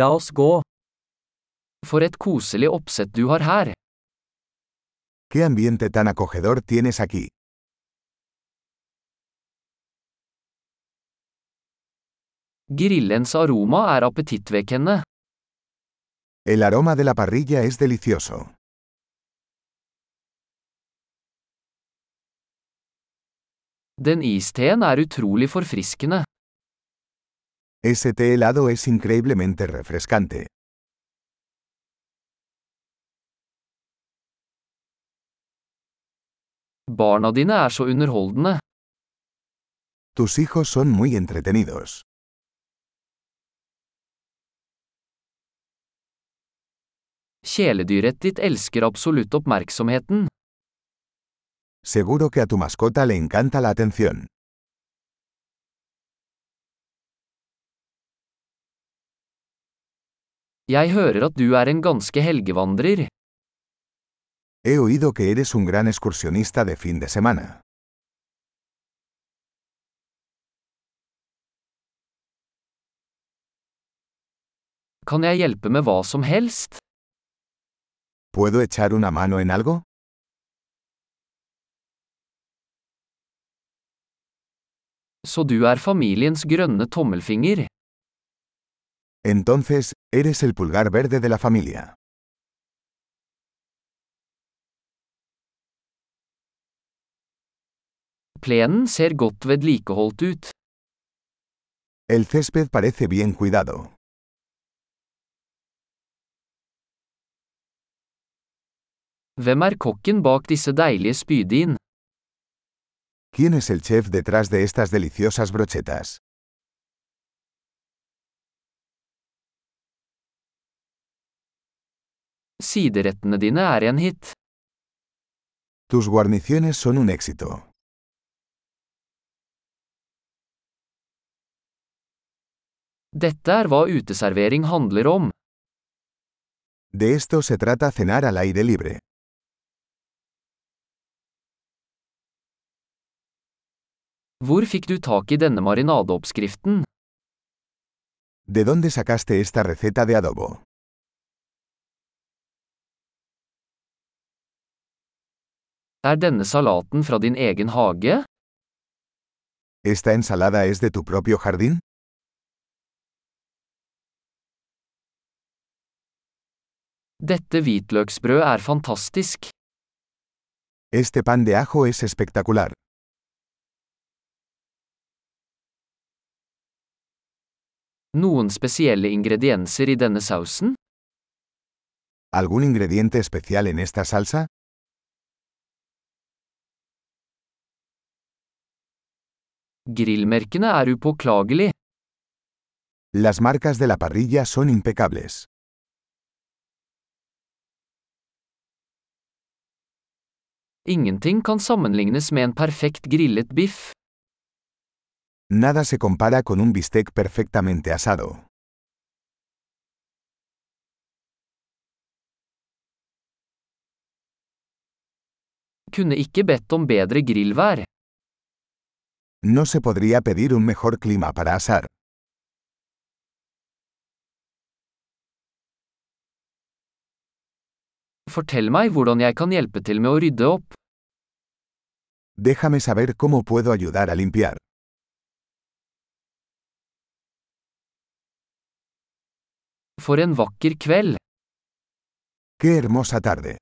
La oss gå. For et koselig oppsett du har her. ¿Qué ambiente tan acogedor tienes aquí? Grillens aroma er appetittvekkende. El aroma de la parrilla es delicioso. Den isteen er utrolig forfriskende. Ese té helado es increíblemente refrescante. Barna dine er så underholdende. Tus hijos son muy entretenidos. Kjæledyret ditt elsker absolutt oppmerksomheten. Seguro que a tu mascota le encanta la atención. Jeg hører at du er en ganske helgevandrer. He oído que eres un gran excursionista de fin de semana. Kan jeg hjelpe med hva som helst? ¿Puedo echar una mano en algo? Så du er familiens grønne tommelfinger. Entonces, eres el pulgar verde de la familia. Plenen ser godt vedlikeholdt ut. El césped parece bien cuidado. Hvem er kokken bak disse deilige spydin? ¿Quién es el chef detrás de estas deliciosas brochetas? Siderettene dine er en hit. Tus guarniciones son un éxito. Dette er hva uteservering handler om. De esto se trata cenar al aire libre. Hvor fikk du tak i denne marinadeoppskriften? ¿De dónde sacaste esta receta de adobo? Er denne salaten fra din egen hage? ¿Esta ensalada es de tu propio jardín? Dette hvitløksbrød er fantastisk. Este pan de ajo es espectacular. Noen spesielle ingredienser i denne sausen? ¿Algún ingrediente especial en esta salsa? Grillmerkene er upåklagelig. Las marcas de la parrilla son impecables. Ingenting kan sammenlignes med en perfekt grillet biff. Nada se compara con un bistec perfectamente asado. Kunne ikke bedt om bedre grillvær. No se podría pedir un mejor clima para asar. Fortell meg hvordan jeg kan hjelpe til med å rydde opp. Déjame saber cómo puedo ayudar a limpiar. For en vakker kveld! ¡Qué hermosa tarde!